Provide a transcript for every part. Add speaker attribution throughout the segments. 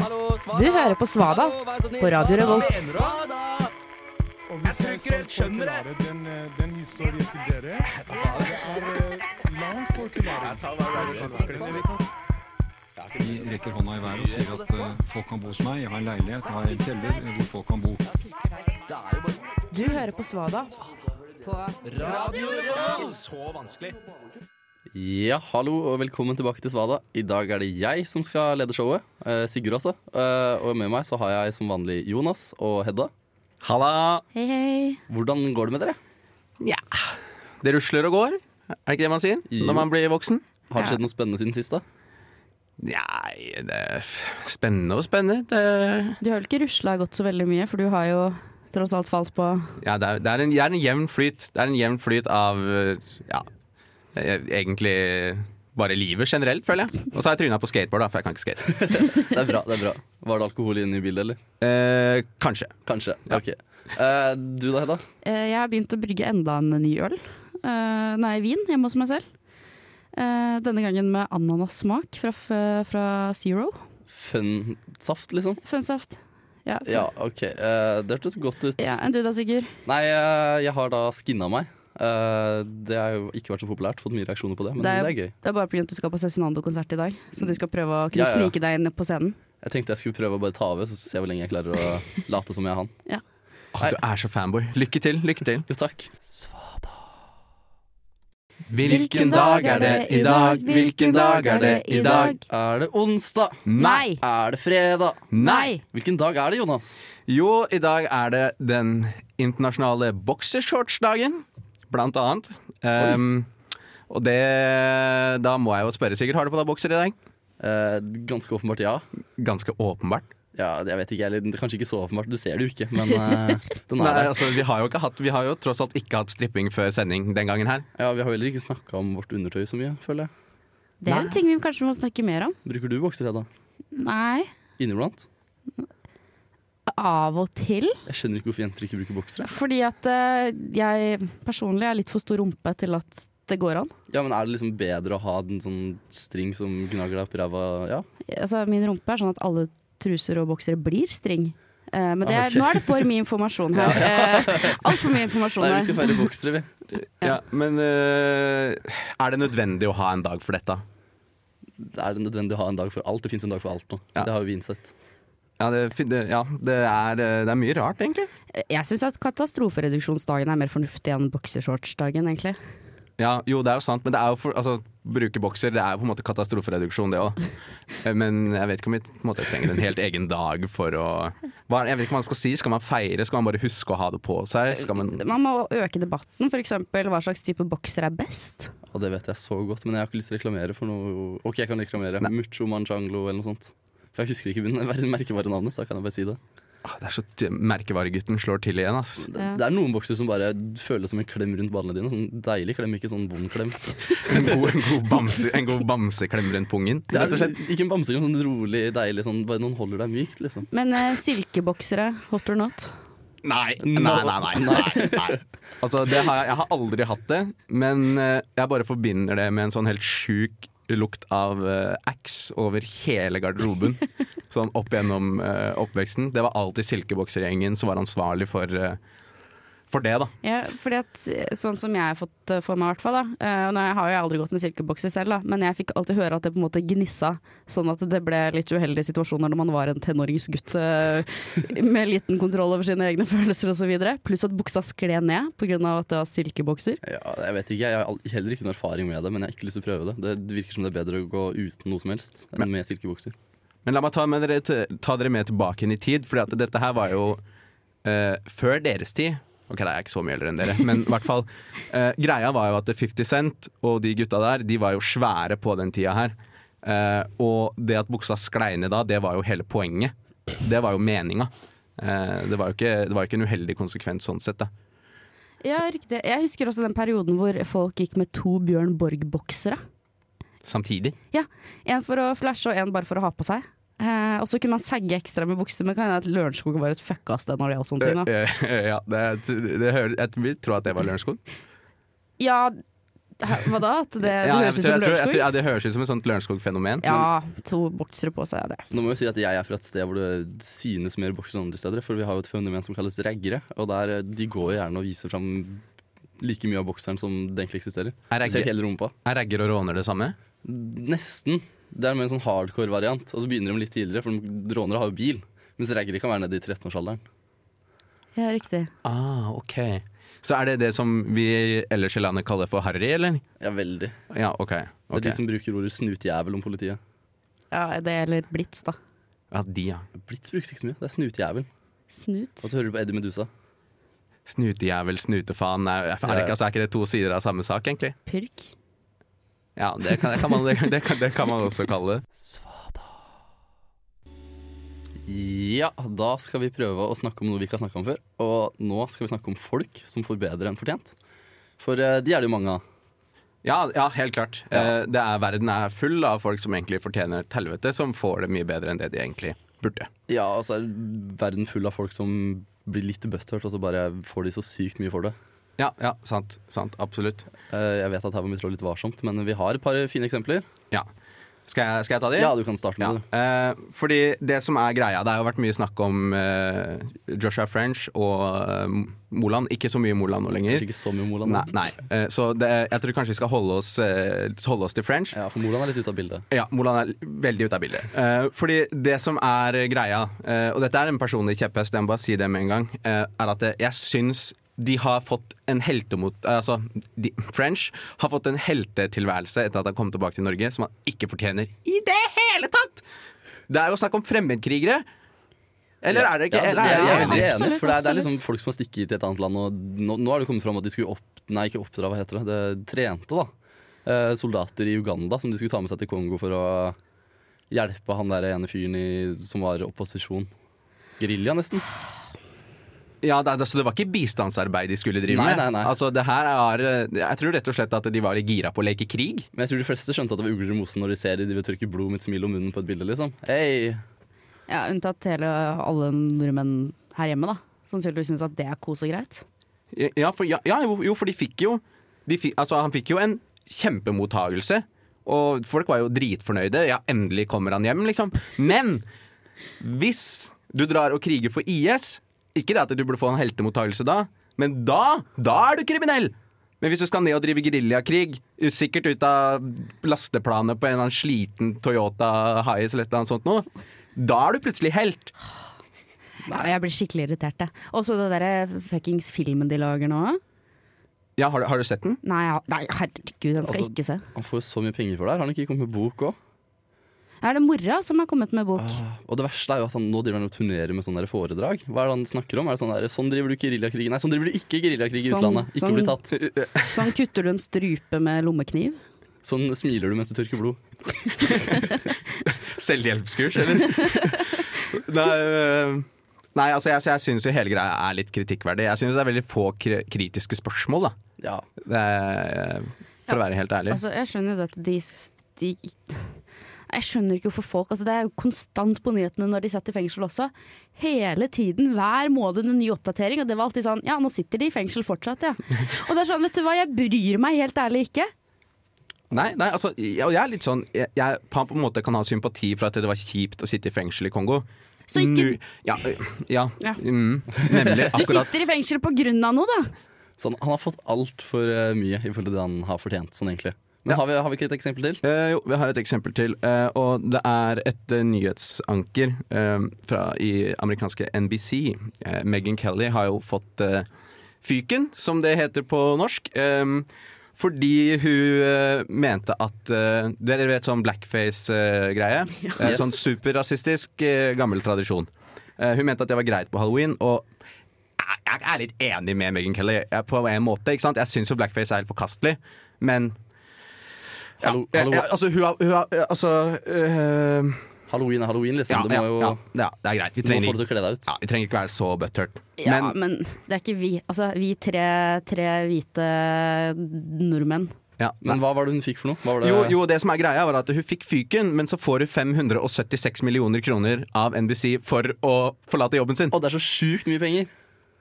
Speaker 1: Du hører på Svada på Radio Revolt.
Speaker 2: Og hvis jeg skal forklare den, eh, den historien til dere Det er eh, langt forklaring.
Speaker 3: De rekker hånda i været og sier at eh, folk kan bo hos meg, jeg har en leilighet, jeg har en kjeller eh, hvor folk kan bo.
Speaker 1: Du hører på Svada på
Speaker 4: Ja, hallo og velkommen tilbake til Svada. I dag er det jeg som skal lede showet. eh, Sigurd, altså. Eh, og med meg så har jeg som vanlig Jonas og Hedda. Halla!
Speaker 5: Hei, hei.
Speaker 4: Hvordan går det med dere?
Speaker 6: Det rusler og går, er det ikke det man sier?
Speaker 4: Jo.
Speaker 6: Når man blir voksen?
Speaker 4: Har det skjedd noe spennende siden sist, da?
Speaker 6: Nei, det er f- spennende og spennende. Det,
Speaker 5: Du har vel ikke rusla gått så veldig mye, for du har jo tross alt falt på
Speaker 6: ja, det, er, det, er en, det er en jevn flyt. Det er en jevn flyt av øh, ja, eh, egentlig bare livet generelt, føler jeg. Og så har jeg tryna på skateboard, da, for jeg kan ikke skate.
Speaker 4: Det er bra. det er bra Var det alkohol inne i bildet, eller?
Speaker 6: Eh, kanskje.
Speaker 4: Kanskje. Ok. Eh, du da, Hedda?
Speaker 5: Eh, Jeg har begynt å brygge enda en ny øl. Eh, Nei, vin hjemme hos meg selv. Eh, Denne gangen med ananassmak fra, f- fra Zero.
Speaker 4: Fun saft, liksom?
Speaker 5: Funsaft. Ja, fun.
Speaker 4: Ja, OK. Eh, det hørtes godt ut.
Speaker 5: ja. Enn du da, Sigurd?
Speaker 4: Nei, eh, jeg har da skinna meg. Eh, det har jo ikke vært så populært, fått mye reaksjoner på det, men det er, gøy.
Speaker 5: Det er bare pga. at du skal på Cezinando-konsert i dag, så du skal prøve å kunne
Speaker 4: Ja, ja, ja.
Speaker 5: snike deg inn på scenen.
Speaker 4: Jeg tenkte jeg skulle prøve å bare ta over, så ser jeg hvor lenge jeg klarer å late som jeg er han.
Speaker 6: Å, du er så fanboy. Lykke til, lykke til.
Speaker 4: Jo, takk.
Speaker 5: Hvilken dag er det i dag? Hvilken dag er det i dag?
Speaker 4: Er det onsdag?
Speaker 5: Nei!
Speaker 4: Er det fredag?
Speaker 6: Nei!
Speaker 4: Hvilken dag er det, Jonas?
Speaker 6: Jo, i dag er det den internasjonale boksershortsdagen, blant annet. Ehm, og det Da må jeg jo spørre, Sigurd, har du på deg bokser i dag?
Speaker 4: Eh, ganske åpenbart ja.
Speaker 6: Ganske åpenbart.
Speaker 4: Ja, Jeg vet ikke, eller kanskje ikke så åpenbart, du ser det jo ikke, men eh, den
Speaker 6: Nei,
Speaker 4: er der.
Speaker 6: altså, vi har jo ikke hatt Vi har jo tross alt ikke hatt stripping før sending den gangen her.
Speaker 4: Ja, Vi har heller ikke snakka om vårt undertøy så mye, føler jeg.
Speaker 5: Det er en ting vi kanskje må snakke mer om.
Speaker 4: Bruker du bokser, Hedda?
Speaker 5: Nei.
Speaker 4: Inniblant?
Speaker 5: Av og til.
Speaker 4: Jeg skjønner ikke hvorfor jenter ikke bruker boksere.
Speaker 5: Fordi at eh, jeg personlig er litt for stor rumpe til at det går an.
Speaker 4: Ja, men Er det liksom bedre å ha en sånn string som gnager deg opp i ræva? Ja.
Speaker 5: Altså, min rumpe er sånn at alle truser og boksere blir string. Eh, men det er,
Speaker 4: Ok.
Speaker 5: nå er det for mye informasjon her. Uh, Altfor mye informasjon
Speaker 4: Nei, vi
Speaker 5: her.
Speaker 4: skal feire boksere, vi.
Speaker 6: Ja, Men øh, er det nødvendig å ha en dag for dette?
Speaker 4: Det er nødvendig å ha en dag for alt. Det fins en dag for alt nå.
Speaker 6: Ja.
Speaker 4: Det har vi innsett.
Speaker 6: Ja, det, fin- det- ja det, er, øh, det er mye rart, egentlig.
Speaker 5: Jeg syns at katastrofereduksjonsdagen er mer fornuftig enn boksershortsdagen, egentlig.
Speaker 6: Ja, jo, det er jo sant, men det er jo for, altså, bruke bokser det er jo på en måte katastrofereduksjon, det òg. Men jeg vet ikke om vi på en måte, trenger en helt egen dag for å hva, er- Jeg vet ikke hva man skal si. Skal man feire? Skal man bare huske å ha det på seg? Skal man
Speaker 5: Man må øke debatten, f.eks. hva slags type bokser er best.
Speaker 4: Ja, det vet jeg så godt, men jeg har ikke lyst til å reklamere for noe OK, jeg kan reklamere. Mucho Manchanglo eller noe sånt. For jeg husker ikke men- mer- merkevarenavnet, så da kan jeg bare si det.
Speaker 6: Åh, ah, Det er så t- Merkevaregutten slår til igjen, ass.
Speaker 4: Det, det er noen boksere som bare føles som en klem rundt ballene dine. Sånn deilig klem, ikke sånn vond klem.
Speaker 6: En god, en god, bamse, en god bamseklem rundt pungen.
Speaker 4: Det er ikke en bamseklem, sånn rolig, deilig, sånn bare noen holder deg mykt, liksom.
Speaker 5: Men eh, silkeboksere, hot or not?
Speaker 6: Nei, nei, nei, nei, nei, nei. Altså, det har jeg, jeg har aldri hatt det, men eh, jeg bare forbinder det med en sånn helt sjuk lukt av uh, ax over hele garderoben. Sånn opp gjennom eh, oppveksten. Det var alltid silkeboksergjengen som var ansvarlig for, eh, for det, da.
Speaker 5: Ja, fordi at sånn som jeg har fått eh, for meg i hvert fall da eh, og Nå har jeg aldri gått med silkebokser selv da Men jeg fikk alltid høre at det på en måte gnissa Sånn at det ble litt uheldige situasjoner Når man var en tenåringsgutt eh, Med liten kontroll over sine egne følelser og så videre Pluss at buksa skle ned På grunn av at det var silkebokser
Speaker 4: Ja, jeg vet ikke, jeg har al- heller ikke noen erfaring med det, men jeg har ikke lyst til å prøve det. Det virker som det er bedre å gå uten noe som helst enn med silkebokser.
Speaker 6: Men la meg ta, med dere, til- ta dere med tilbake inn i tid, for dette her var jo eh, før deres tid. Ok, da er jeg ikke så mye eldre enn dere, men i hvert fall. eh, greia var jo at 50 Cent og de gutta der, de var jo svære på den tida her. Eh, og det at buksa sklei ned da, det var jo hele poenget. Det var jo meninga. Eh, det, var jo ikke, det var jo ikke en uheldig konsekvens sånn sett, da.
Speaker 5: Ja, riktig Jeg husker også den perioden hvor folk gikk med to Bjørn Borg-boksere
Speaker 6: Samtidig.
Speaker 5: Ja, en for å flashe og en bare for å ha på seg Eh, og så kunne man sagge ekstra med bukser Men kan hende at Lørenskog var et fucka sted når det gjaldt sånne ting da
Speaker 6: Eh, eh, ja, det, det, hører- jeg vil tro at det var Lørenskog.
Speaker 5: Ja, Hæ, Hva da? At det, det
Speaker 6: Ja, jeg
Speaker 5: høres ut som
Speaker 6: tror- jeg tror- jeg
Speaker 5: Lørenskog?
Speaker 6: tror- Ja, det høres ut som et sånt Lørenskog-fenomen. men-
Speaker 5: Ja, to boksere på seg, ja, det.
Speaker 4: Nå må vi si at jeg er fra et sted hvor det synes mer bokser enn andre steder. For vi har jo et fenomen som kalles raggere, og der eh, de går jo gjerne og viser fram like mye av bokseren som det egentlig eksisterer.
Speaker 6: Er
Speaker 4: Du ser
Speaker 6: ragger,
Speaker 4: ikke hele rumpa.
Speaker 6: er ragger og råner det samme?
Speaker 4: Nesten. Det er mer en sånn hardcore variant. Og så begynner de litt tidligere, for de rånere har jo bil. Mens raggere kan være nede i 13-årsalderen.
Speaker 5: Ja, riktig.
Speaker 6: Ah, ok. Så er det det som vi ellers i landet kaller for harry, eller?
Speaker 4: Ja, veldig.
Speaker 6: Ja, ok.
Speaker 4: Det er
Speaker 6: ok.
Speaker 4: de som bruker ordet snutjævel om politiet.
Speaker 5: Ja, det eller Blitz, da.
Speaker 6: Ja, de, ja.
Speaker 4: Blitz brukes ikke så mye. Det er snutjævel.
Speaker 5: Snut.
Speaker 4: Og så hører du på Eddie Medusa.
Speaker 6: Snutejævel, snutefaen. Er, er,
Speaker 4: Ja,
Speaker 6: det
Speaker 4: ja.
Speaker 6: ikke, altså, er ikke det to sider av samme sak, egentlig?
Speaker 5: Purk.
Speaker 6: Ja, det kan, det kan, man, det, kan- det kan, det kan man også kalle det.
Speaker 4: Ja, da skal vi prøve å snakke om noe vi ikke har snakka om før. Og nå skal vi snakke om folk som får bedre enn fortjent. For eh, de er det jo mange av.
Speaker 6: Ja, ja helt klart.
Speaker 4: Ja.
Speaker 6: Eh, det er, verden er full av folk som egentlig fortjener et helvete, som får det mye bedre enn det de egentlig burde.
Speaker 4: Ja, og så er verden full av folk som blir litt butthurt, og så bare får de så sykt mye for det.
Speaker 6: Ja, ja, sant. sant absolutt.
Speaker 4: Eh, Jeg vet at her må vi trå litt varsomt, men vi har et par fine eksempler.
Speaker 6: Ja. Skal jeg, skal jeg ta de?
Speaker 4: Ja, du kan starte
Speaker 6: Ja,
Speaker 4: med det.
Speaker 6: eh, fordi det som er greia, det har jo vært mye snakk om eh, Joshua French og eh, Moland. Ikke så mye Moland nå lenger.
Speaker 4: Kanskje ikke så mye Moland.
Speaker 6: Nei,
Speaker 4: da.
Speaker 6: nei. Eh, så det, jeg tror kanskje vi skal holde oss, eh, holde oss til French.
Speaker 4: Ja, for Moland er litt ute av bildet.
Speaker 6: Ja, Moland er veldig ute av bildet. Eh, fordi det som er eh, greia, eh, og dette er en personlig kjepphest, jeg må bare si det med en gang, eh, er at eh, jeg syns de har fått en heltemot... eh, Altså, de, French har fått en heltetilværelse etter at han kom tilbake til Norge, som han ikke fortjener i det hele tatt! Det er jo snakk om fremmedkrigere. Eller er det ikke?
Speaker 4: Ja,
Speaker 6: eller
Speaker 4: jeg, jeg, er
Speaker 6: er det ikke?
Speaker 4: veldig enig, for det
Speaker 5: Absolutt,
Speaker 4: er, det er
Speaker 5: absolutt.
Speaker 4: liksom folk som har stikket til et annet land, og nå, nå er det kommet fram at de skulle opp... Nei, ikke oppdra, hva heter det? det trente, da. Eh, soldater i Uganda som de skulle ta med seg til Kongo for å hjelpe han der ene fyren i, som var opposisjon. Gerilja, nesten.
Speaker 6: Ja, det, altså, det var ikke bistandsarbeid de skulle drive
Speaker 4: Nei,
Speaker 6: med.
Speaker 4: nei, nei.
Speaker 6: Altså, det her er, eh, jeg tror rett og slett at de var litt gira på å leke krig.
Speaker 4: Men jeg tror de fleste skjønte at det var ugler i mosen når de ser de driver og tørker blod med et smil om munnen på et bilde, liksom. Hei!
Speaker 5: Ja, unntatt hele, alle nordmenn her hjemme, da. Sannsynligvis syns at det er kos og greit.
Speaker 6: Ja, for, ja, ja jo, jo, for de fikk jo de fikk, Altså, han fikk jo en kjempemottagelse. Og folk var jo dritfornøyde. Ja, endelig kommer han hjem, liksom. Men hvis du drar og kriger for IS Ikke det at du burde få en heltemottagelse da, men da, da er du kriminell! Men hvis du skal ned og drive geriljakrig, ut- sikkert ut av lasteplanet på en eller annen sliten Toyota Hiace eller et eller annet sånt noe, da er du plutselig helt.
Speaker 5: Ja, jeg blir skikkelig irritert, jeg. Og så det derre fuckings filmen de lager nå.
Speaker 6: Ja, har du, har du sett den?
Speaker 5: Nei, ja, nei herregud, den skal jeg
Speaker 4: Altså-
Speaker 5: ikke se.
Speaker 4: Han får jo så mye penger for det her. Har han ikke kommet med bok òg?
Speaker 5: Er det mora som har kommet med bok?
Speaker 6: Ah.
Speaker 4: Og det verste er jo at han nå driver han og turnerer med sånne der foredrag. Hva er det han snakker om? Er det sånn der, sånn driver du geriljakrig Nei, sånn driver du ikke geriljakrig i
Speaker 5: Sånn-
Speaker 4: utlandet. Ikke
Speaker 5: sånn-
Speaker 4: bli tatt.
Speaker 5: Sånn kutter du en strupe med lommekniv.
Speaker 4: Sånn smiler du mens du tørker blod.
Speaker 6: Selvhjelpskurs, eller? nei, øh, nei, altså jeg, jeg syns jo hele greia er litt kritikkverdig. Jeg syns det er veldig få kri kritiske spørsmål, da.
Speaker 4: Ja.
Speaker 6: Det er, for å være helt ærlig.
Speaker 5: Altså, jeg skjønner det at de, de Jeg skjønner ikke hvorfor folk altså, Det er jo konstant på nyhetene når de satt i fengsel også. Hele tiden, hver måned en ny oppdatering. Og det var alltid sånn Ja, nå sitter de i fengsel fortsatt, ja. Og det er sånn, vet du hva, jeg bryr meg helt ærlig ikke.
Speaker 6: Nei, nei, altså, jeg, og jeg er litt sånn jeg, jeg på en måte kan ha sympati for at det var kjipt å sitte i fengsel i Kongo.
Speaker 5: Så ikke
Speaker 6: Nu- Ja. øh, ja,
Speaker 5: Ja.
Speaker 6: Mm, nemlig.
Speaker 5: Du
Speaker 6: Akkurat.
Speaker 5: sitter i fengsel på grunn av noe, da.
Speaker 4: Så sånn, han, han har fått altfor uh, mye i forhold til det han har fortjent, sånn egentlig. Men
Speaker 6: Ja.
Speaker 4: har, vi, har vi ikke et eksempel til?
Speaker 6: Eh, jo, vi har et eksempel til. eh, og det er et eh, nyhetsanker eh, fra, i amerikanske NBC. Eh, Megyn Kelly har jo fått eh, fyken, som det heter på norsk. eh, fordi hun eh, mente at eh, Dere vet sånn blackface-greie? Eh, sånn superrasistisk eh, gammel tradisjon. Eh, hun mente at det var greit på halloween. og jeg jeg er litt enig med Megyn Kelly jeg, på en måte. ikke sant? Jeg syns jo blackface er helt forkastelig, men ja,
Speaker 4: Hallo,
Speaker 6: ja,
Speaker 4: hallo,
Speaker 6: ja, altså, hun har, hun har ja, Altså øh,
Speaker 4: Halloween er halloween, liksom.
Speaker 6: ja,
Speaker 4: du må jo
Speaker 6: ja, ja, det er greit. Vi
Speaker 4: du må få det
Speaker 6: trenger,
Speaker 4: til å kle deg ut.
Speaker 6: ja, vi trenger ikke være så butthurt.
Speaker 5: Ja,
Speaker 6: Men
Speaker 5: men det er ikke vi. Altså, vi tre, tre hvite nordmenn.
Speaker 6: ja, nei.
Speaker 4: Men hva var det hun fikk for noe? Hva var det?
Speaker 6: jo, jo, det som er greia, var at hun fikk fyken, men så får hun 576 millioner kroner av NBC for å forlate jobben sin.
Speaker 4: Å, det er så sjukt mye penger!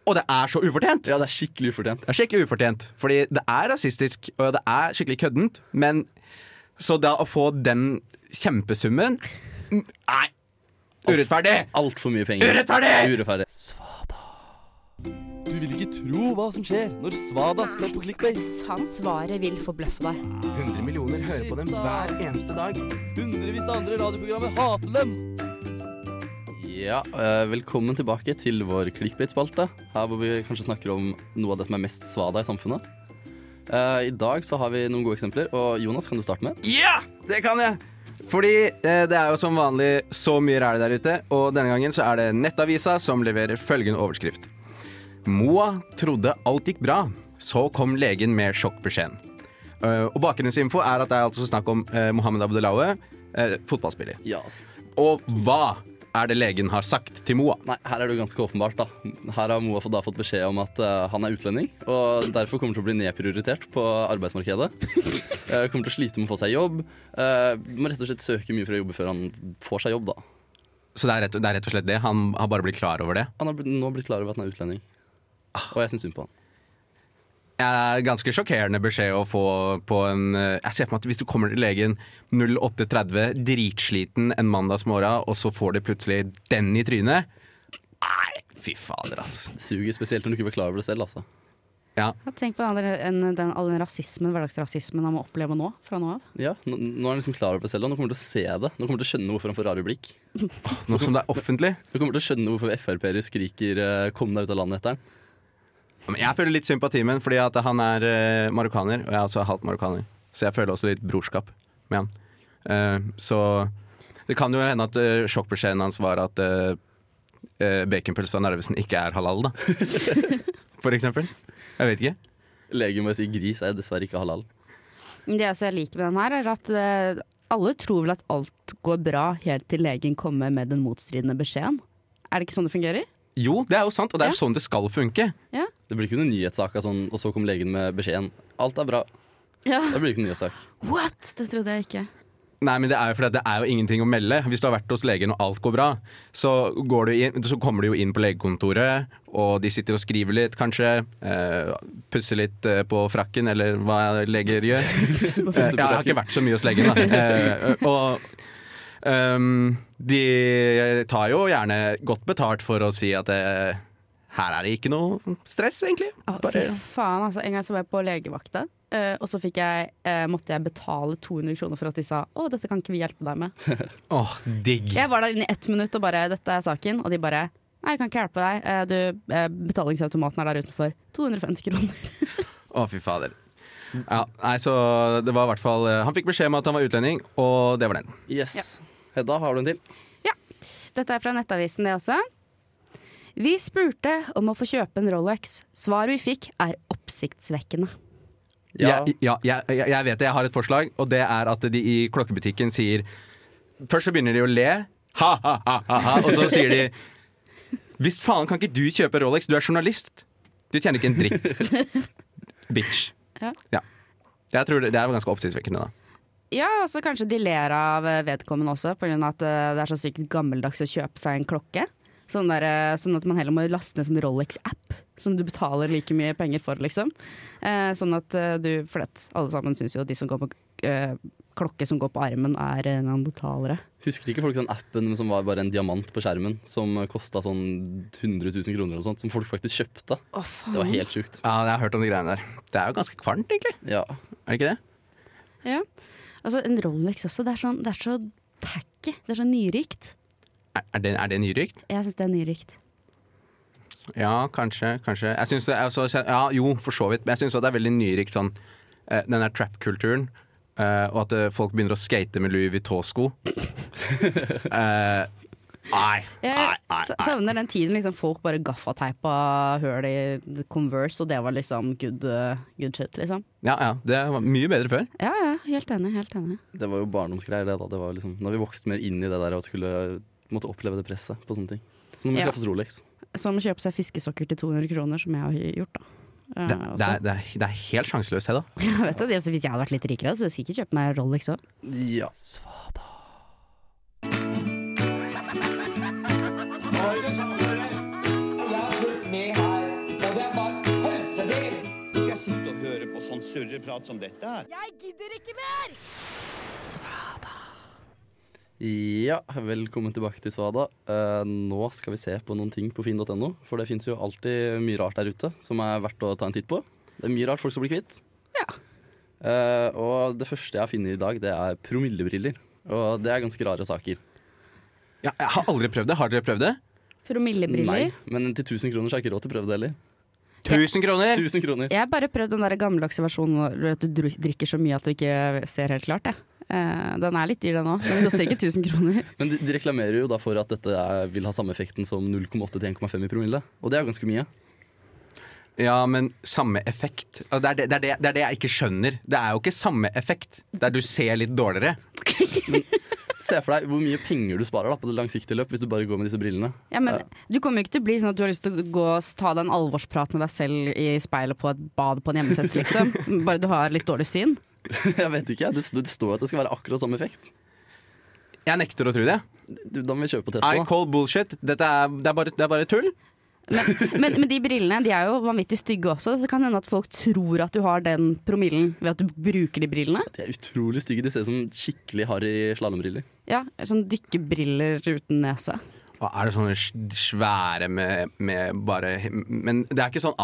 Speaker 6: Og det er så ufortjent!
Speaker 4: Ja, det er skikkelig ufortjent.
Speaker 6: Det er skikkelig ufortjent, fordi det er rasistisk, og det er skikkelig køddent, men så da å få den kjempesummen mm, Nei! Urettferdig!
Speaker 4: Altfor mye penger.
Speaker 6: Urettferdig!
Speaker 4: Urettferdig. Svada. Du vil ikke tro hva som skjer når Svada ser på Clickbase.
Speaker 7: Svaret vil forbløffe deg.
Speaker 8: 100 millioner hører på dem hver eneste dag.
Speaker 4: Hundrevis av andre radioprogrammer hater dem. Ja, eh, velkommen tilbake til vår clickbait-spalte. Her hvor vi kanskje snakker om noe av det som er mest svada i samfunnet. Eh, I dag så har vi noen gode eksempler, og Jonas, kan du starte med?
Speaker 6: Ja! Det kan jeg! Fordi eh, det er jo som vanlig så mye ræl der ute, og denne gangen så er det Nettavisa som leverer følgende overskrift. Moa trodde alt gikk bra, så kom legen med sjokkbeskjeden. Eh, og bakgrunnsinfo er at det er altså snakk om eh, Mohammed Abdelaue, eh, fotballspiller.
Speaker 4: Ja, ass.
Speaker 6: Og hva er det legen har sagt til Moa?
Speaker 4: Nei, her er det jo ganske åpenbart, da. Her har Moa fått- da fått beskjed om at eh, han er utlending, og derfor kommer til å bli nedprioritert på arbeidsmarkedet. Eh, kommer til å slite med å få seg jobb. Eh, må rett og slett søke mye for å jobbe før han får seg jobb, da.
Speaker 6: Så det er rett, det er rett og slett det. Han har bare blitt klar over det.
Speaker 4: Han har blitt- nå blitt klar over at han er utlending. Og jeg syns synd på han.
Speaker 6: Det er ganske sjokkerende beskjed å få på en eh, Jeg ser for meg at hvis du kommer til legen 08.30, dritsliten en mandagsmorgen, og så får du plutselig den i trynet. Nei, fy fader, ass.
Speaker 4: Det Suger spesielt når du ikke var klar over det selv, altså.
Speaker 6: Ja.
Speaker 5: Ja, Tenk på den, andre- en- den, all den rasismen, hverdagsrasismen han må oppleve nå, fra nå av.
Speaker 4: Ja, nå, nå er han liksom klar over det selv, og nå kommer han til å se det. Nå kommer han til å skjønne hvorfor han får rare blikk.
Speaker 6: Nå som det er offentlig.
Speaker 4: Nå kommer han til å skjønne hvorfor Frp-ere skriker eh, 'kom deg ut av landet' etter han.
Speaker 6: Men jeg føler litt sympati med ham, fordi at han er eh, marokkaner, og jeg er altså halvt marokkaner. Så jeg føler også litt brorskap med han. Eh, så det kan jo hende at eh, sjokkbeskjeden hans var at uh, baconpølse fra Narvesen ikke er halal, da. For eksempel. Jeg vet ikke.
Speaker 4: Legen må si 'gris er dessverre ikke halal'.
Speaker 5: Men Det altså jeg liker med den her, er at eh, alle tror vel at alt går bra helt til legen kommer med den motstridende beskjeden. Er det ikke sånn det fungerer?
Speaker 6: Jo, det er jo sant, og det er jo sånn det skal funke.
Speaker 4: Det blir ikke noen nyhetssak av sånn, og så kom legen med beskjeden. Alt er bra.
Speaker 5: Ja.
Speaker 4: Det blir ikke noen nyhetssak.
Speaker 5: What?! Det trodde jeg ikke.
Speaker 6: Nei, men det er jo fordi at det er jo ingenting å melde. Hvis du har vært hos legen og alt går bra, så, går du inn, så kommer du jo inn på legekontoret, og de sitter og skriver litt, kanskje. Eh, pusser litt eh, på frakken, eller hva leger gjør. Eh, ja, jeg har ikke vært så mye hos legen, da. Eh, og ehm, de tar jo gjerne godt betalt for å si at eh, her er det ikke noe stress, egentlig.
Speaker 5: Ah, Fy faen, altså. En gang så var jeg på legevakta, eh, og så fikk jeg, eh, måtte jeg betale 200 kroner for at de sa 'Å, dette kan ikke vi hjelpe deg med'.
Speaker 6: Åh, digg.
Speaker 5: Jeg var der inne i ett minutt og bare 'dette er saken', og de bare 'nei, jeg kan ikke hjelpe deg'. Eh, Du, eh, betalingsautomaten er der utenfor. 250 kroner.
Speaker 6: Å, fy fader. Ja, nei, så det var i hvert fall eh, Han fikk beskjed om at han var utlending, og det var den.
Speaker 4: Yes. Hedda, har du en til?
Speaker 5: Dette er fra Nettavisen, det også. Vi spurte om å få kjøpe en Rolex. Svaret vi fikk, er oppsiktsvekkende.
Speaker 4: Ja.
Speaker 6: Jeg, ja, jeg, jeg- jeg vet det. Jeg har et forslag, og det er at de i klokkebutikken sier Først så begynner de å le, ha, ha, ha, ha, ha og så sier de Visst faen kan ikke du kjøpe Rolex, du er journalist. Du tjener ikke en dritt. Bitch.
Speaker 5: Ja.
Speaker 6: Jeg tror det, det er jo ganske oppsiktsvekkende, da.
Speaker 5: Ja, altså kanskje de ler av eh, vedkommende også, pga. at eh, det er så sykt gammeldags å kjøpe seg en klokke. Sånn, der, eh, sånn at man heller må laste ned sånn Rolex-app, som du betaler like mye penger for, liksom. Eh, sånn at eh, du For det, alle sammen syns jo at de som går på eh, klokke som går på armen, er eh, neandertalere.
Speaker 4: Husker ikke folk den appen som var bare en diamant på skjermen, som kosta sånn 100 000 kroner eller noe sånt, som folk faktisk kjøpte?
Speaker 5: Å,
Speaker 4: Det var helt sjukt.
Speaker 6: Ja, jeg har hørt om de greiene der. Det er jo ganske kvalmt, egentlig.
Speaker 4: Ja.
Speaker 6: Er det ikke det?
Speaker 5: Ja. Altså, en Rolex også, det er, sånn, det er så tacky. Det er så nyrikt.
Speaker 6: Er, er det, er det nyrykt?
Speaker 5: Jeg syns det er nyrikt.
Speaker 6: Ja, kanskje. kanskje. Jeg synes det er så, ja, jo, for så vidt. Men jeg syns det er veldig nyrikt sånn eh, den der trap-kulturen. eh, og at eh, folk begynner å skate med Louis Vuitton-sko. Eh, nei, nei,
Speaker 5: Jeg
Speaker 6: nei.
Speaker 5: sa-
Speaker 6: nei.
Speaker 5: savner den tiden liksom folk bare gaffateipa høl i Converse, og det var liksom good, uh, good shit, liksom.
Speaker 6: Ja, ja, det var mye bedre før.
Speaker 5: Ja, ja, helt enig. helt enig.
Speaker 4: Det var jo barndomsgreier, det. da det var liksom, Når vi vokste mer inn i det der og skulle måtte oppleve det presset på sånne ting. Så nå må vi
Speaker 5: Ja.
Speaker 4: skaffe oss Rolex.
Speaker 5: Som å kjøpe seg fiskesokker til 200 kroner, som jeg har gjort, da. Eh,
Speaker 6: Det, det,
Speaker 5: også.
Speaker 6: er, det, er, det er helt sjanseløst, Hedda.
Speaker 5: Jeg vet det, altså, hvis jeg hadde vært litt rikere, så skulle jeg ikke kjøpe meg Rolex òg.
Speaker 4: Ja.
Speaker 9: Ned her. sånn surreprat som dette er.
Speaker 7: Jeg gidder ikke mer!
Speaker 4: Ja, velkommen tilbake til Svada. Eh, nå skal vi se på noen ting på finn.no, for det fins jo alltid mye rart der ute som er verdt å ta en titt på. Det er mye rart folk skal bli kvitt.
Speaker 5: Ja.
Speaker 4: Eh, og det første jeg har funnet i dag, det er promillebriller. Og det er ganske rare saker.
Speaker 6: Ja, jeg har aldri prøvd det. Har dere prøvd det?
Speaker 4: Nei,
Speaker 5: Promillebriller.
Speaker 4: men til 1000 kroner så har jeg ikke råd til å prøve det heller.
Speaker 6: 1000 kroner!
Speaker 4: 1000 kroner.
Speaker 5: Jeg har bare prøvd den der gammeldagse versjonen hvor at du dru- drikker så mye at du ikke ser helt klart. Jeg. Eh, Den er litt dyr, den òg. Den koster ikke 1000 kroner.
Speaker 4: Men de, de reklamerer jo da for at dette er, vil ha samme effekten som 0,8 til 1,5 i promille. Og det er jo ganske mye.
Speaker 6: Ja, men samme effekt. Altså, Det er det, det, er det, det er det jeg ikke skjønner. Det er jo ikke samme effekt. Der du ser litt dårligere.
Speaker 4: Se for deg hvor mye penger du sparer da på det langsiktige løp hvis du bare går med disse brillene.
Speaker 5: Ja, men du kommer jo ikke til å bli sånn at du har lyst til å gå og ta deg en alvorsprat med deg selv i speilet på et bad på en hjemmefest, liksom. Bare du har litt dårlig syn.
Speaker 4: Jeg vet ikke, det, sto- det står at det skal være akkurat samme effekt.
Speaker 6: Jeg nekter å tro det.
Speaker 4: Du, da må vi kjøpe på
Speaker 6: I
Speaker 4: testen. da.
Speaker 6: call bullshit. Dette er, det, er bare, det er bare tull.
Speaker 5: Men, men de brillene de er jo vanvittig stygge også, så kan det hende at folk tror at du har den promillen ved at du bruker de brillene.
Speaker 4: De er utrolig stygge. De ser ut som skikkelig harry slalåmbriller.
Speaker 5: Ja, Sånn dykkebriller uten nese.
Speaker 6: Og er det sånne sj- svære med, med bare Men det er ikke sånn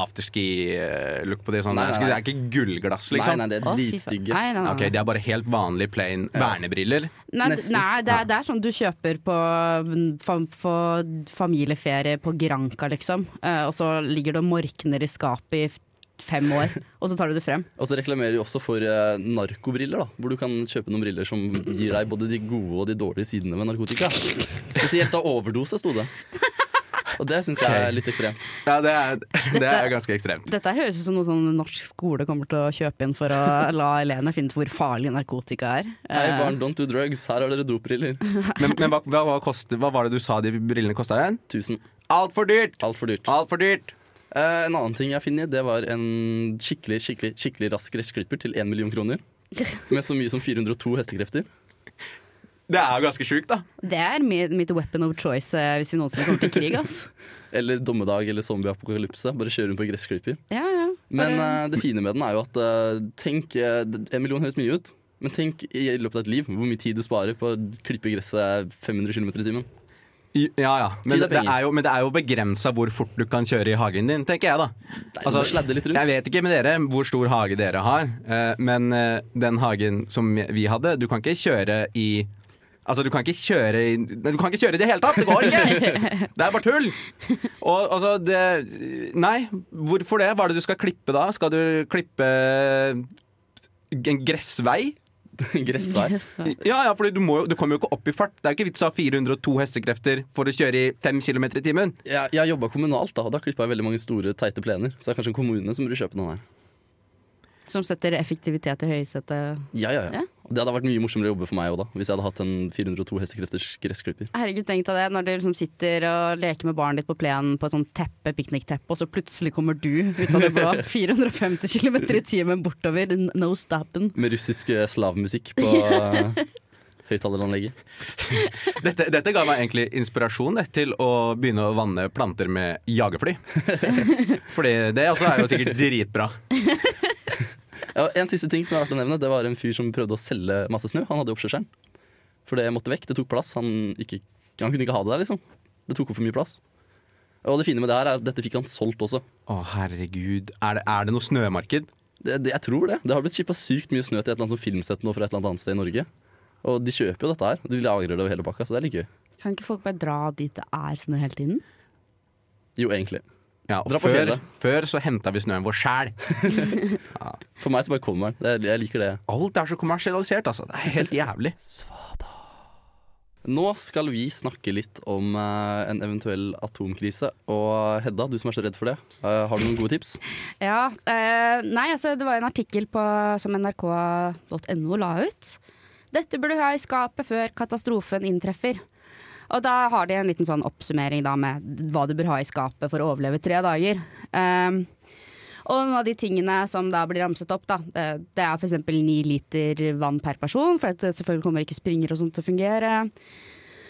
Speaker 6: afterski-look på de. Sånn,
Speaker 4: Nei, nei, nei.
Speaker 6: Det er ikke gullglass, liksom.
Speaker 4: Nei, nei, det er
Speaker 5: Å, fy faen.
Speaker 4: dritstygge.
Speaker 5: Nei, nei, nei.
Speaker 6: Ok, De er bare helt vanlige plain vernebriller.
Speaker 5: Nei, d-
Speaker 4: Nesten.
Speaker 5: nei det, er, det er sånn du kjøper på mm, fam, for familieferie på Granca, liksom. Eh, og så ligger det og morkner i skapet i f- fem år, og så tar du det frem.
Speaker 4: Og så reklamerer de også for eh, narkobriller, da, hvor du kan kjøpe noen briller som gir deg både de gode og de dårlige sidene ved narkotika. Spesielt av overdose, sto det. Og det syns jeg er litt ekstremt.
Speaker 6: Ja, det er, det
Speaker 5: Dette-
Speaker 6: er ganske ekstremt.
Speaker 5: Dette høres ut som noe sånn norsk skole kommer til å kjøpe inn for å la elevene finne ut hvor farlig narkotika er. Eh,
Speaker 4: Hei barn, don't do drugs. Her har dere dopbriller.
Speaker 6: Men, men hva, hva, hva koster- hva var det du sa de brillene kosta igjen?
Speaker 4: Tusen.
Speaker 6: Altfor dyrt!
Speaker 4: Altfor dyrt.
Speaker 6: Altfor dyrt!
Speaker 4: Eh, en annen ting jeg finner, det var en skikkelig skikkelig, skikkelig rask gressklipper til 1 million kroner. Med så mye som 402 hestekrefter.
Speaker 6: Det er jo ganske sjukt, da.
Speaker 5: det er mi- mitt weapon of choice eh, hvis vi noensinne kommer til krig, ass.
Speaker 4: Eller dommedag eller zombieapokalypse. Bare kjøre rundt på gressklipper.
Speaker 5: Ja, ja.
Speaker 4: Men
Speaker 5: Bare-
Speaker 4: eh, det fine med den er jo at eh, tenk eh, d- En million høres mye ut, men tenk i løpet av et liv hvor mye tid du sparer på å klippe gresset 500 km i timen.
Speaker 6: I- Ja, ja. Men,
Speaker 4: Tid er
Speaker 6: det
Speaker 4: penger.
Speaker 6: er jo, men det er jo begrensa hvor fort du kan kjøre i hagen din, tenker jeg, da.
Speaker 4: Altså, sladde litt rundt.
Speaker 6: Jeg vet ikke med dere hvor stor hage dere har, eh, men eh, den hagen som vi hadde, du kan ikke kjøre i Altså, du kan ikke kjøre i Nei, Du kan ikke kjøre i det hele tatt! Det går ikke! Det er bare tull! Og altså, det Nei, hvorfor det? Hva er det du skal klippe da? Skal du klippe en gressvei?
Speaker 4: Gressvær.
Speaker 5: Yes,
Speaker 6: Ja, ja, for du, må jo- du kommer jo ikke opp i fart. Det er jo ikke vits å ha 402 hestekrefter for å kjøre i 5 km i timen.
Speaker 4: Jeg, jeg jobba kommunalt, da, og da klippa jeg veldig mange store, teite plener. Så det er kanskje en kommune som burde kjøpe den her.
Speaker 5: Som setter effektivitet i høysetet.
Speaker 4: Ja, ja, ja.
Speaker 5: Ja.
Speaker 4: Og Det hadde vært mye morsommere å jobbe for meg òg, da. Hvis jeg hadde hatt en 402 hestekrefters gressklipper.
Speaker 5: Herregud, tenk deg det. Når du liksom sitter og leker med barnet ditt på plenen på et sånt teppe, piknikteppe, og så plutselig kommer du ut av det blå 450 km i timen bortover. n- No stoppen.
Speaker 4: Med russisk eh, slavmusikk på eh, høyttaleranlegget.
Speaker 6: Dette, dette ga meg egentlig inspirasjon det, til å begynne å vanne planter med jagerfly. Fordi det også er jo sikkert dritbra.
Speaker 4: Ja, en siste ting som er verdt å nevne, det var en fyr som prøvde å selge masse snø. Han hadde oppskjørselen. For det måtte vekk. Det tok plass. Han, ikke, han kunne ikke ha det der, liksom. Det tok opp for mye plass. Og det fine med det her er at dette fikk han solgt også.
Speaker 6: Å, herregud. Er det, er det noe snømarked?
Speaker 4: Det, det, jeg tror det. Det har blitt shippa sykt mye snø til et eller annet sånt filmsett nå fra et eller annet sted i Norge. Og de kjøper jo dette her. De lagrer det over hele pakka, så det er litt gøy.
Speaker 5: Kan ikke folk bare dra dit det er snø hele tiden?
Speaker 4: Jo, egentlig.
Speaker 6: Ja, og
Speaker 4: Dra på
Speaker 6: før,
Speaker 4: fjellet.
Speaker 6: før så henta vi snøen vår sjæl.
Speaker 4: For meg så bare kommer den. Det- Jeg liker det.
Speaker 6: Alt er så kommersialisert, altså. Det er helt jævlig.
Speaker 4: Nå skal vi snakke litt om eh, en eventuell atomkrise. Og Hedda, du som er så redd for det, eh, har du noen gode tips?
Speaker 5: Ja, eh, nei, altså det var en artikkel på, som nrk.no la ut. Dette burde du ha i skapet før katastrofen inntreffer. Og da har de en liten sånn oppsummering da med hva du bør ha i skapet for å overleve tre dager. Um, og noen av de tingene som da blir ramset opp, da, det, det er f.eks. ni liter vann per person, for at det selvfølgelig kommer ikke springer og sånt til å fungere.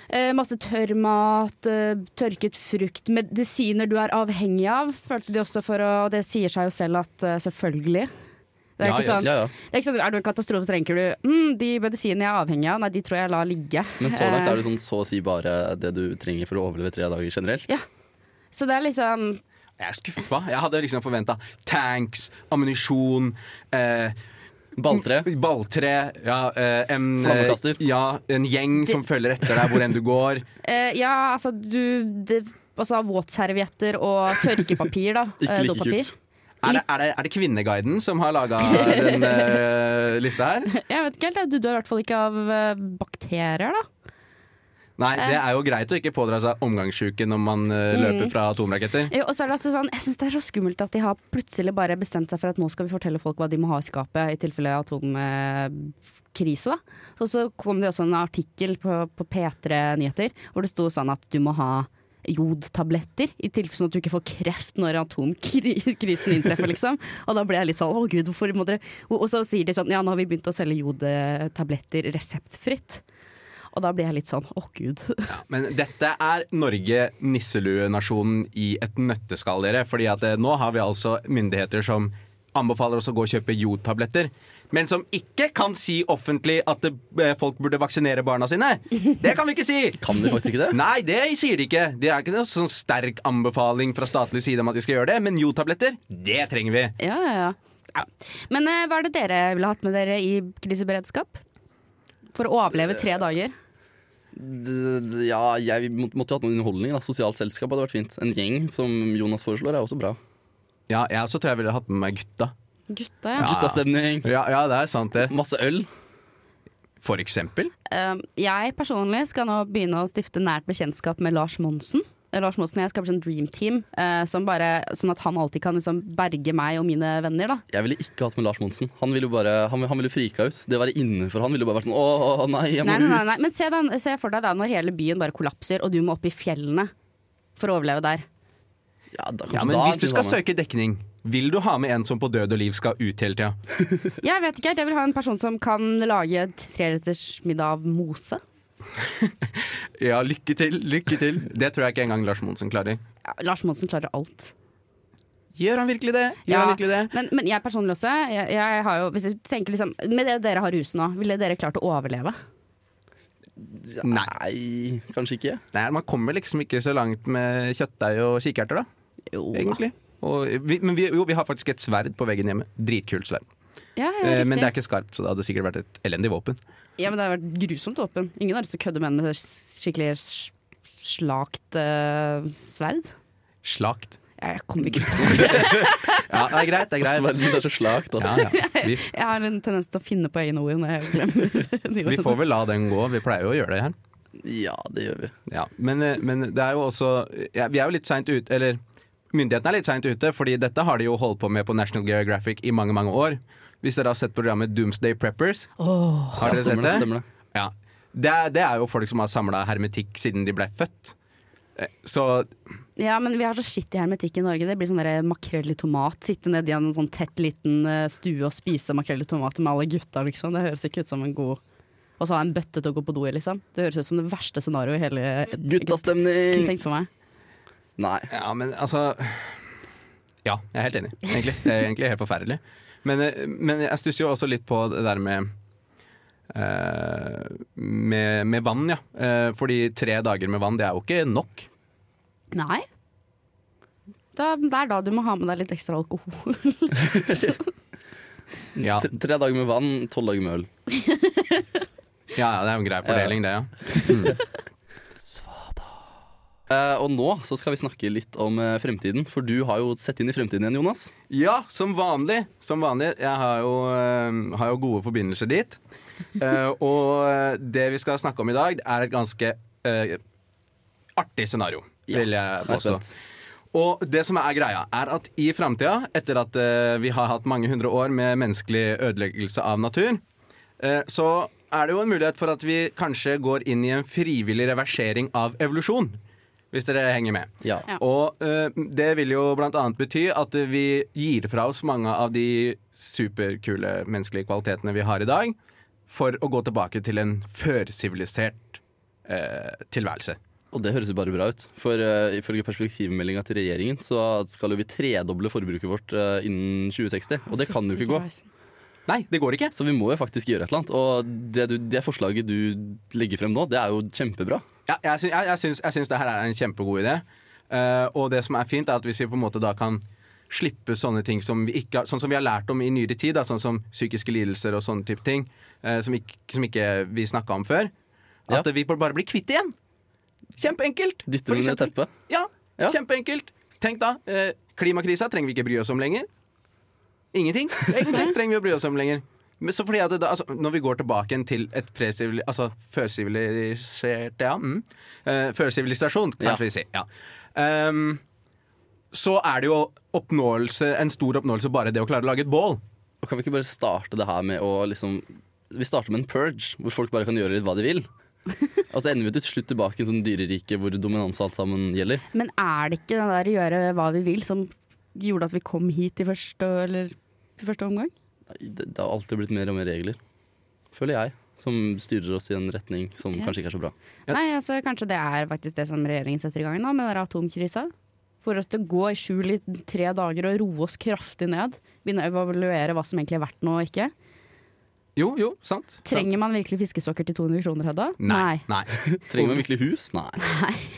Speaker 5: Eh, masse tørrmat, eh, tørket frukt, medisiner du er avhengig av, følte de også for å Det sier seg jo selv at eh, selvfølgelig. Det er
Speaker 6: Ja,
Speaker 5: ikke
Speaker 6: ja,
Speaker 5: sånn,
Speaker 4: Ja, ja.
Speaker 5: det er, ikke sånn, er du en katastrofe, så tenker du mm, de medisinene jeg er avhengig av, nei, de tror jeg lar ligge.
Speaker 4: Men så langt
Speaker 5: Eh,
Speaker 4: er det sånn så å si bare det du trenger for å overleve tre dager generelt.
Speaker 5: Ja. Så det er litt sånn
Speaker 6: Jeg er skuffa. Jeg hadde liksom forventa tanks, ammunisjon eh,
Speaker 4: Balltre.
Speaker 6: Balltre. Ja, eh, en,
Speaker 4: Flammekaster.
Speaker 6: eh, Ja, en gjeng som følger etter deg hvor enn du går.
Speaker 5: eh, Ja, altså du det, Altså våtservietter og tørkepapir, da.
Speaker 4: Ikke
Speaker 5: eh,
Speaker 4: like
Speaker 5: Dopapir.
Speaker 4: kult.
Speaker 6: Er det, er det, er det Kvinneguiden som har laga den eh, lista her?
Speaker 5: Jeg vet ikke helt, jeg. du dør i hvert fall ikke av eh, bakterier, da.
Speaker 6: Nei, det er jo greit å ikke pådra seg omgangssjuke når man eh, løper fra atomraketter.
Speaker 5: Jo, og så er det også sånn, jeg syns det er så skummelt at de har plutselig bare bestemt seg for at nå skal vi fortelle folk hva de må ha i skapet i tilfelle atomkrise. da. Og så kom det også en artikkel på, på P3 Nyheter hvor det sto sånn at du må ha jodtabletter, i tilfelle sånn at du ikke får kreft når atomkrisen inntreffer, liksom. Og da ble jeg litt sånn å gud, hvorfor må dere Og og så sier de sånn ja, nå har vi begynt å selge jodtabletter reseptfritt. Og da blir jeg litt sånn å gud.
Speaker 6: Men dette er Norge nisselue-nasjonen i et nøtteskall, dere. Fordi at eh, nå har vi altså myndigheter som anbefaler oss å gå og kjøpe jodtabletter. Men som ikke kan si offentlig at eh, folk burde vaksinere barna sine. Det kan vi ikke si!
Speaker 4: Kan vi faktisk ikke det?
Speaker 6: Nei, det sier de ikke. Det er ikke noen sånn sterk anbefaling fra statlig side om at vi skal gjøre det, men jodtabletter, det trenger vi.
Speaker 5: Ja, ja, ja. ja. Men eh, hva er det dere ville hatt med dere i kriseberedskap? For å overleve tre dager?
Speaker 4: D- d- Ja, jeg må- måtte jo hatt noen underholdning. da Sosialt selskap hadde vært fint. En gjeng, som Jonas foreslår, er også bra.
Speaker 6: Ja, jeg også tror jeg ville hatt med meg gutta.
Speaker 5: Gutta, ja.
Speaker 6: Ja.
Speaker 4: Guttastemning,
Speaker 6: Ja, ja det er sant, det.
Speaker 4: masse øl.
Speaker 6: For eksempel.
Speaker 5: Eh, jeg personlig skal nå begynne å stifte nært bekjentskap med Lars Monsen. Eh, Lars Monsen og jeg skaper sånn dream team, eh, som bare, sånn at han alltid kan liksom berge meg og mine venner. da.
Speaker 4: Jeg ville ikke hatt med Lars Monsen. Han ville jo bare han, han ville frika ut. Det å være inne for han ville jo bare vært sånn Å, å, nei, jeg må
Speaker 5: Nei, nei, nei,
Speaker 4: ut.
Speaker 5: nei. Men se, den, se for deg da når hele byen bare kollapser, og du må opp i fjellene for å overleve der.
Speaker 4: Ja, da,
Speaker 6: Ja,
Speaker 4: kanskje
Speaker 6: men
Speaker 4: da
Speaker 6: hvis du
Speaker 4: kunne
Speaker 6: skal
Speaker 4: han vært-
Speaker 6: søke dekning, vil du ha med en som på død og liv skal ut hele tida?
Speaker 5: Jeg vet ikke, helt. jeg vil ha en person som kan lage treretters middag av mose.
Speaker 6: Ja, lykke til, lykke til. Det tror jeg ikke engang Lars Monsen klarer.
Speaker 5: Ja, Lars Monsen klarer alt.
Speaker 6: Gjør han virkelig det? Gjør
Speaker 5: Ja.
Speaker 6: han virkelig det?
Speaker 5: Men, men jeg personlig også, jeg, jeg har jo, hvis jeg tenker liksom, med det dere har rus nå, ville dere klart å overleve?
Speaker 4: Nei, kanskje ikke.
Speaker 6: Nei, man kommer liksom ikke så langt med kjøttdeig og kikerter, da.
Speaker 5: Jo.
Speaker 6: Egentlig. Og vi, men vi, jo, vi har faktisk et sverd på veggen hjemme. Dritkult sverd.
Speaker 5: Ja, ja,
Speaker 6: Eh,
Speaker 5: riktig.
Speaker 6: men det er ikke skarpt, så det hadde sikkert vært et elendig våpen.
Speaker 5: ja, men det har vært grusomt åpen. Ingen har lyst til å kødde med en med s- skikkelig s- slakt eh, sverd.
Speaker 6: Slakt.
Speaker 5: Jeg kommer ikke
Speaker 6: Ja, det er greit, det er greit.
Speaker 4: Sverdet mitt er så slakt, altså.
Speaker 6: Ja, ja. Vi,
Speaker 5: Jeg har en tendens til å finne på egne ord når jeg glemmer. nye
Speaker 6: vi
Speaker 5: ord.
Speaker 6: får vel la den gå. Vi pleier jo å gjøre det her.
Speaker 4: Ja, det gjør vi.
Speaker 6: Ja, men, eh, men det er jo også ja, Vi er jo litt seint ute, eller myndighetene er litt seint ute, fordi dette har de jo holdt på med på National Geographic i mange, mange år. Hvis dere har sett programmet Doomsday Preppers,
Speaker 4: Ja,
Speaker 6: har dere sett
Speaker 4: stemmer
Speaker 6: det?
Speaker 4: det? Stemmer det.
Speaker 6: Ja. Det, er, det er jo folk som har samla hermetikk siden de ble født. Eh, Så
Speaker 5: Ja, men vi har så skittig hermetikk i Norge. Det blir sånn der makrell i tomat. Sitte nedi en sånn tett liten eh, stue og spise makrell i tomat med alle gutta, liksom. Det høres ikke ut som en god Og så ha en bøtte til å gå på do i, liksom. Det høres ut som det verste scenarioet i hele Kunne
Speaker 4: Guttastemning!
Speaker 5: tenkt for meg.
Speaker 4: Nei.
Speaker 6: Ja, men altså Ja, jeg er helt enig, egentlig. Det er egentlig helt forferdelig. Men, eh, men jeg stusser jo også litt på det der med eh, med, med vann, ja. Eh, fordi tre dager med vann, det er jo ikke nok.
Speaker 5: Nei. Da, det er da du må ha med deg litt ekstra alkohol.
Speaker 6: Ja,
Speaker 4: Tre- Tre dager med vann, tolv dager med øl.
Speaker 6: ja ja, det er jo en grei fordeling, det, ja.
Speaker 4: Eh, og nå så skal vi snakke litt om eh, fremtiden, for du har jo sett inn i fremtiden igjen, Jonas.
Speaker 6: Ja, som vanlig. Som vanlig. Jeg har jo, eh, har jo gode forbindelser dit. Eh, og eh, det vi skal snakke om i dag, er et ganske eh, artig scenario,
Speaker 4: Ja,
Speaker 6: vil jeg
Speaker 4: Jeg er
Speaker 6: påstå.
Speaker 4: spent.
Speaker 6: Og det som er greia, er at i framtida, etter at eh, vi har hatt mange hundre år med menneskelig ødeleggelse av natur, eh, så er det jo en mulighet for at vi kanskje går inn i en frivillig reversering av evolusjon. Hvis dere henger med.
Speaker 4: Ja.
Speaker 5: Ja.
Speaker 6: Og eh, det vil jo blant annet bety at vi gir fra oss mange av de superkule menneskelige kvalitetene vi har i dag, for å gå tilbake til en førsivilisert eh, tilværelse.
Speaker 4: Og det høres jo bare bra ut. For eh, ifølge perspektivmeldinga til regjeringen så skal jo vi tredoble forbruket vårt eh, innen 2060. Og det kan jo ikke gå.
Speaker 5: Fy til Christ.
Speaker 6: Nei, det går ikke.
Speaker 4: Så vi må jo faktisk gjøre et eller annet. Og det, du, det forslaget du legger frem nå, det er jo kjempebra.
Speaker 6: Ja, jeg, syns, jeg, jeg, syns, jeg syns det her er en kjempegod idé. Eh, og det som er fint, er at hvis vi på en måte da kan slippe sånne ting som vi, ikke, har- sånn som vi har lært om i nyere tid, da, sånn som psykiske lidelser og sånne type ting, eh, som, ikke, som ikke vi snakka om før, at
Speaker 4: Ja.
Speaker 6: vi bare blir kvitt igjen. Kjempeenkelt.
Speaker 4: Dytter
Speaker 6: For
Speaker 4: den under
Speaker 6: eksempel.
Speaker 4: teppet.
Speaker 6: Ja,
Speaker 4: Ja.
Speaker 6: kjempeenkelt. Tenk da, eh, klimakrisa trenger vi ikke bry oss om lenger. Ingenting egentlig trenger vi å bry oss om lenger. Men så fordi at det da, altså, Når vi går tilbake igjen til et presivili- altså, førsivilisert ja, mm, eh, Førsivilisasjon, kanskje
Speaker 4: Ja.
Speaker 6: vi sier. Ja. Ehm, så er det jo oppnåelse, en stor oppnåelse bare det å klare å lage et bål.
Speaker 4: Og kan vi ikke bare starte det her med å liksom Vi starter med en purge, hvor folk bare kan gjøre litt hva de vil. Og så ender vi til slutt tilbake i en sånn dyrerike hvor dominans og alt sammen gjelder.
Speaker 5: Men er det ikke det der å gjøre hva vi vil som gjorde at vi kom hit i første, eller, i første omgang?
Speaker 4: Det, det har alltid blitt mer og mer regler, føler jeg. Som styrer oss i en retning som
Speaker 5: Ja.
Speaker 4: kanskje ikke er så bra.
Speaker 5: Nei, altså kanskje det er faktisk det som regjeringen setter i gang nå, med den der atomkrisa. For oss til å gå i skjul i tre dager og roe oss kraftig ned. Begynne å evaluere hva som egentlig er verdt noe og ikke.
Speaker 6: Jo, jo, sant.
Speaker 5: Trenger man virkelig fiskesokker til 200 kroner, Hedda?
Speaker 6: Nei. Nei.
Speaker 4: Trenger man virkelig hus? Nei.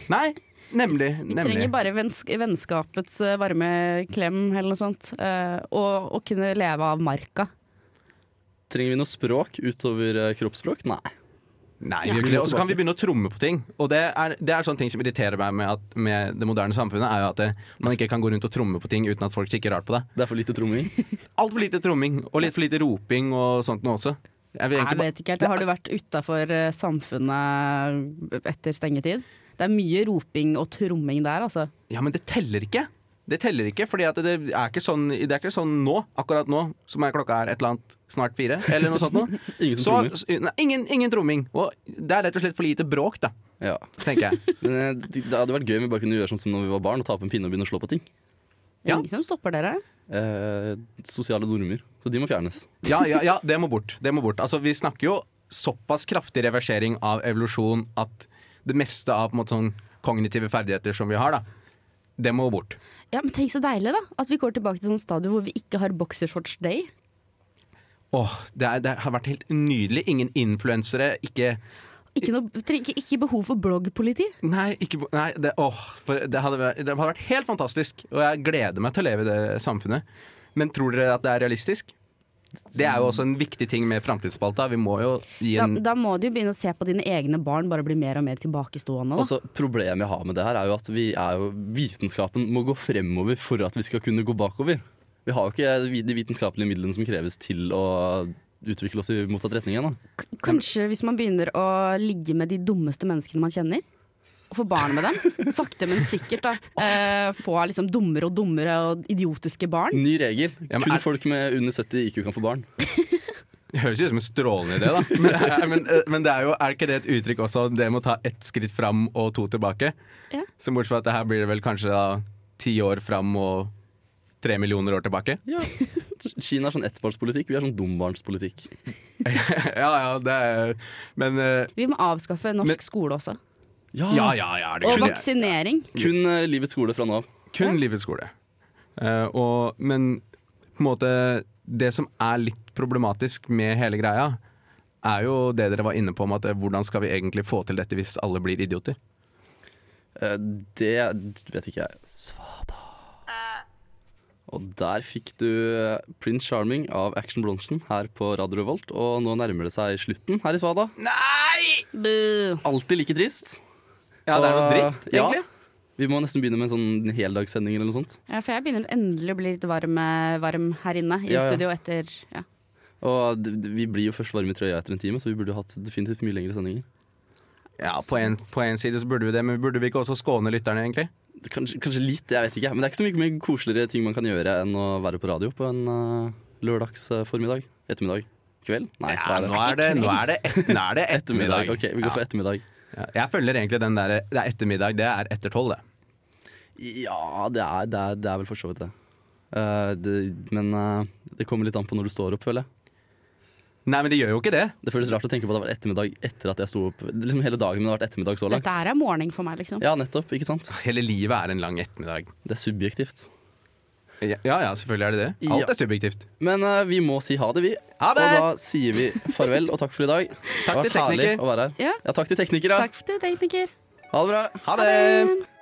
Speaker 6: Nei. Nemlig.
Speaker 5: Vi trenger
Speaker 6: nemlig.
Speaker 5: bare vennsk vennskapets eh, varme klem eller noe sånt. eh, og å kunne leve av marka.
Speaker 4: Trenger vi noe språk utover eh, kroppsspråk? Nei.
Speaker 6: Nei,
Speaker 5: Ja.
Speaker 6: virkelig. Og så kan vi begynne å tromme på ting. Og det er, det er sånne ting som irriterer meg med, at, med det moderne samfunnet, er jo at det, man ikke kan gå rundt og tromme på ting uten at folk kikker rart på deg.
Speaker 4: Det er for lite tromming.
Speaker 6: Altfor lite tromming, og litt for lite roping og sånt noe også. Jeg vil
Speaker 5: Jeg
Speaker 6: egentlig bare
Speaker 5: vet ikke helt. Har du vært utafor samfunnet etter stengetid? Det er mye roping og tromming der, altså.
Speaker 6: Ja, men det teller ikke. Det teller ikke, fordi at det er ikke sånn, det er ikke sånn nå, akkurat nå, som er klokka er et eller annet snart fire, eller noe sånt noe.
Speaker 4: Ingen
Speaker 6: Så,
Speaker 4: som trommer.
Speaker 6: nei, ingen, ingen tromming. Og det er rett og slett for lite bråk, da,
Speaker 4: Ja.
Speaker 6: tenker jeg.
Speaker 4: Men eh, det det hadde vært gøy om vi bare kunne gjøre sånn som når vi var barn, og ta opp en pinne og begynne å slå på ting.
Speaker 5: Det er
Speaker 6: Ja.
Speaker 5: ingen som stopper dere.
Speaker 4: Eh, sosiale normer. Så de må fjernes.
Speaker 6: Ja, ja, ja, det må bort. Det må bort. Altså, vi snakker jo såpass kraftig reversering av evolusjon at det meste av på en måte, sånn, kognitive ferdigheter som vi har, da, det må bort.
Speaker 5: Ja, men Tenk så deilig, da. At vi går tilbake til sånn stadion hvor vi ikke har boxershorts day.
Speaker 6: Åh, det, er, det har vært helt nydelig. Ingen influensere, ikke
Speaker 5: Ikke, noe, trenger ikke, ikke behov for bloggpoliti.
Speaker 6: Nei, ikke, nei det, åh, for det, hadde vært, det hadde vært helt fantastisk, og jeg gleder meg til å leve i det samfunnet. Men tror dere at det er realistisk? Det er jo også en viktig ting med Framtidsspalta. Vi må jo gi
Speaker 5: Da,
Speaker 6: en
Speaker 5: da må du jo begynne å se på dine egne barn bare bli mer og mer tilbakestående. Da.
Speaker 4: Altså, problemet jeg har med det her, er jo at vi er jo, vitenskapen må gå fremover for at vi skal kunne gå bakover. Vi har jo ikke vi- de vitenskapelige midlene som kreves til å utvikle oss i motsatt retning ennå.
Speaker 5: K- Kanskje hvis man begynner å ligge med de dummeste menneskene man kjenner. Og få barn med dem. Sakte, men sikkert. da eh, Få liksom dummere og dummere og idiotiske barn.
Speaker 4: Ny regel.
Speaker 6: Ja, men
Speaker 4: Kun
Speaker 6: er-
Speaker 4: folk med under 70 IQ kan få barn.
Speaker 6: Det høres jo ut som en strålende idé, da. Men, men, eh, men det er jo, er ikke det et uttrykk også, det med å ta ett skritt fram og to tilbake?
Speaker 5: Ja.
Speaker 6: Så bortsett fra at det her blir det vel kanskje da ti år fram og tre millioner år tilbake?
Speaker 4: Kina er sånn ettbarnspolitikk, vi er sånn dumbarnspolitikk.
Speaker 6: ja, ja, det er Men eh,
Speaker 5: Vi må avskaffe norsk
Speaker 6: Men-
Speaker 5: skole også.
Speaker 6: ja, ja, ja. Det
Speaker 5: Og
Speaker 6: kun,
Speaker 5: vaksinering.
Speaker 4: Kun eh, livets skole fra nå av.
Speaker 6: kun livets skole. Eh, og, men på en måte Det som er litt problematisk med hele greia, er jo det dere var inne på om at eh, hvordan skal vi egentlig få til dette hvis alle blir idioter?
Speaker 4: Eh, Det vet ikke jeg. Svada. Og der fikk du eh, Prince Charming av Action Bronsen her på Radio Revolt. Og nå nærmer det seg slutten her i Svada.
Speaker 5: Buh.
Speaker 4: Alltid like trist.
Speaker 6: Ja, det er noe
Speaker 4: Og-
Speaker 6: dritt,
Speaker 4: ja.
Speaker 6: egentlig.
Speaker 4: Vi må nesten begynne med en sånn heldagssending eller noe sånt.
Speaker 5: Ja, for jeg begynner endelig å bli litt varm, eh, varm her inne i
Speaker 4: Ja, ja.
Speaker 5: studio etter ja.
Speaker 4: Og d- d- vi blir jo først varme i trøya etter en time, så vi burde jo hatt definitivt mye lengre sendinger.
Speaker 6: Ja, på en, på en side så burde vi det, men burde vi ikke også skåne lytterne, egentlig?
Speaker 4: Det- Kanskje, kanskje litt, jeg vet ikke. Men det er ikke så mye, mye koseligere ting man kan gjøre enn å være på radio på en eh, lørdags eh, formiddag. Ettermiddag. Kveld? Nei, hva er det?
Speaker 6: nå er det, nå er det, et, nå er det ettermiddag.
Speaker 4: Ok, vi går for
Speaker 6: ja.
Speaker 4: ettermiddag.
Speaker 6: Ja, Jeg følger egentlig den der Det er ettermiddag, det er etter tolv, det.
Speaker 4: Ja, det er, det er, det er vel for så vidt det. Eh, det men eh, det kommer litt an på når du står opp, føler jeg.
Speaker 6: Nei, men det gjør jo ikke det.
Speaker 4: Det føles rart å tenke på at det var ettermiddag etter at jeg sto opp. Liksom hele dagen min har vært ettermiddag så langt.
Speaker 5: Dette her er morning for meg, liksom.
Speaker 4: Ja, nettopp. Ikke sant?
Speaker 6: Hele livet er en lang ettermiddag.
Speaker 4: Det er subjektivt.
Speaker 6: Ja, ja, selvfølgelig er det det.
Speaker 4: Ja.
Speaker 6: Alt er subjektivt.
Speaker 4: Men eh, vi må si ha det, vi.
Speaker 6: Ha det!
Speaker 4: Og da sier vi farvel og takk for i dag.
Speaker 6: Takk til
Speaker 4: det var herlig
Speaker 6: tekniker.
Speaker 4: å være her.
Speaker 5: Ja.
Speaker 4: Ja, takk til tekniker. Ja.
Speaker 5: Takk til tekniker.
Speaker 4: Ha det bra.
Speaker 6: Ha det!
Speaker 5: Ha det.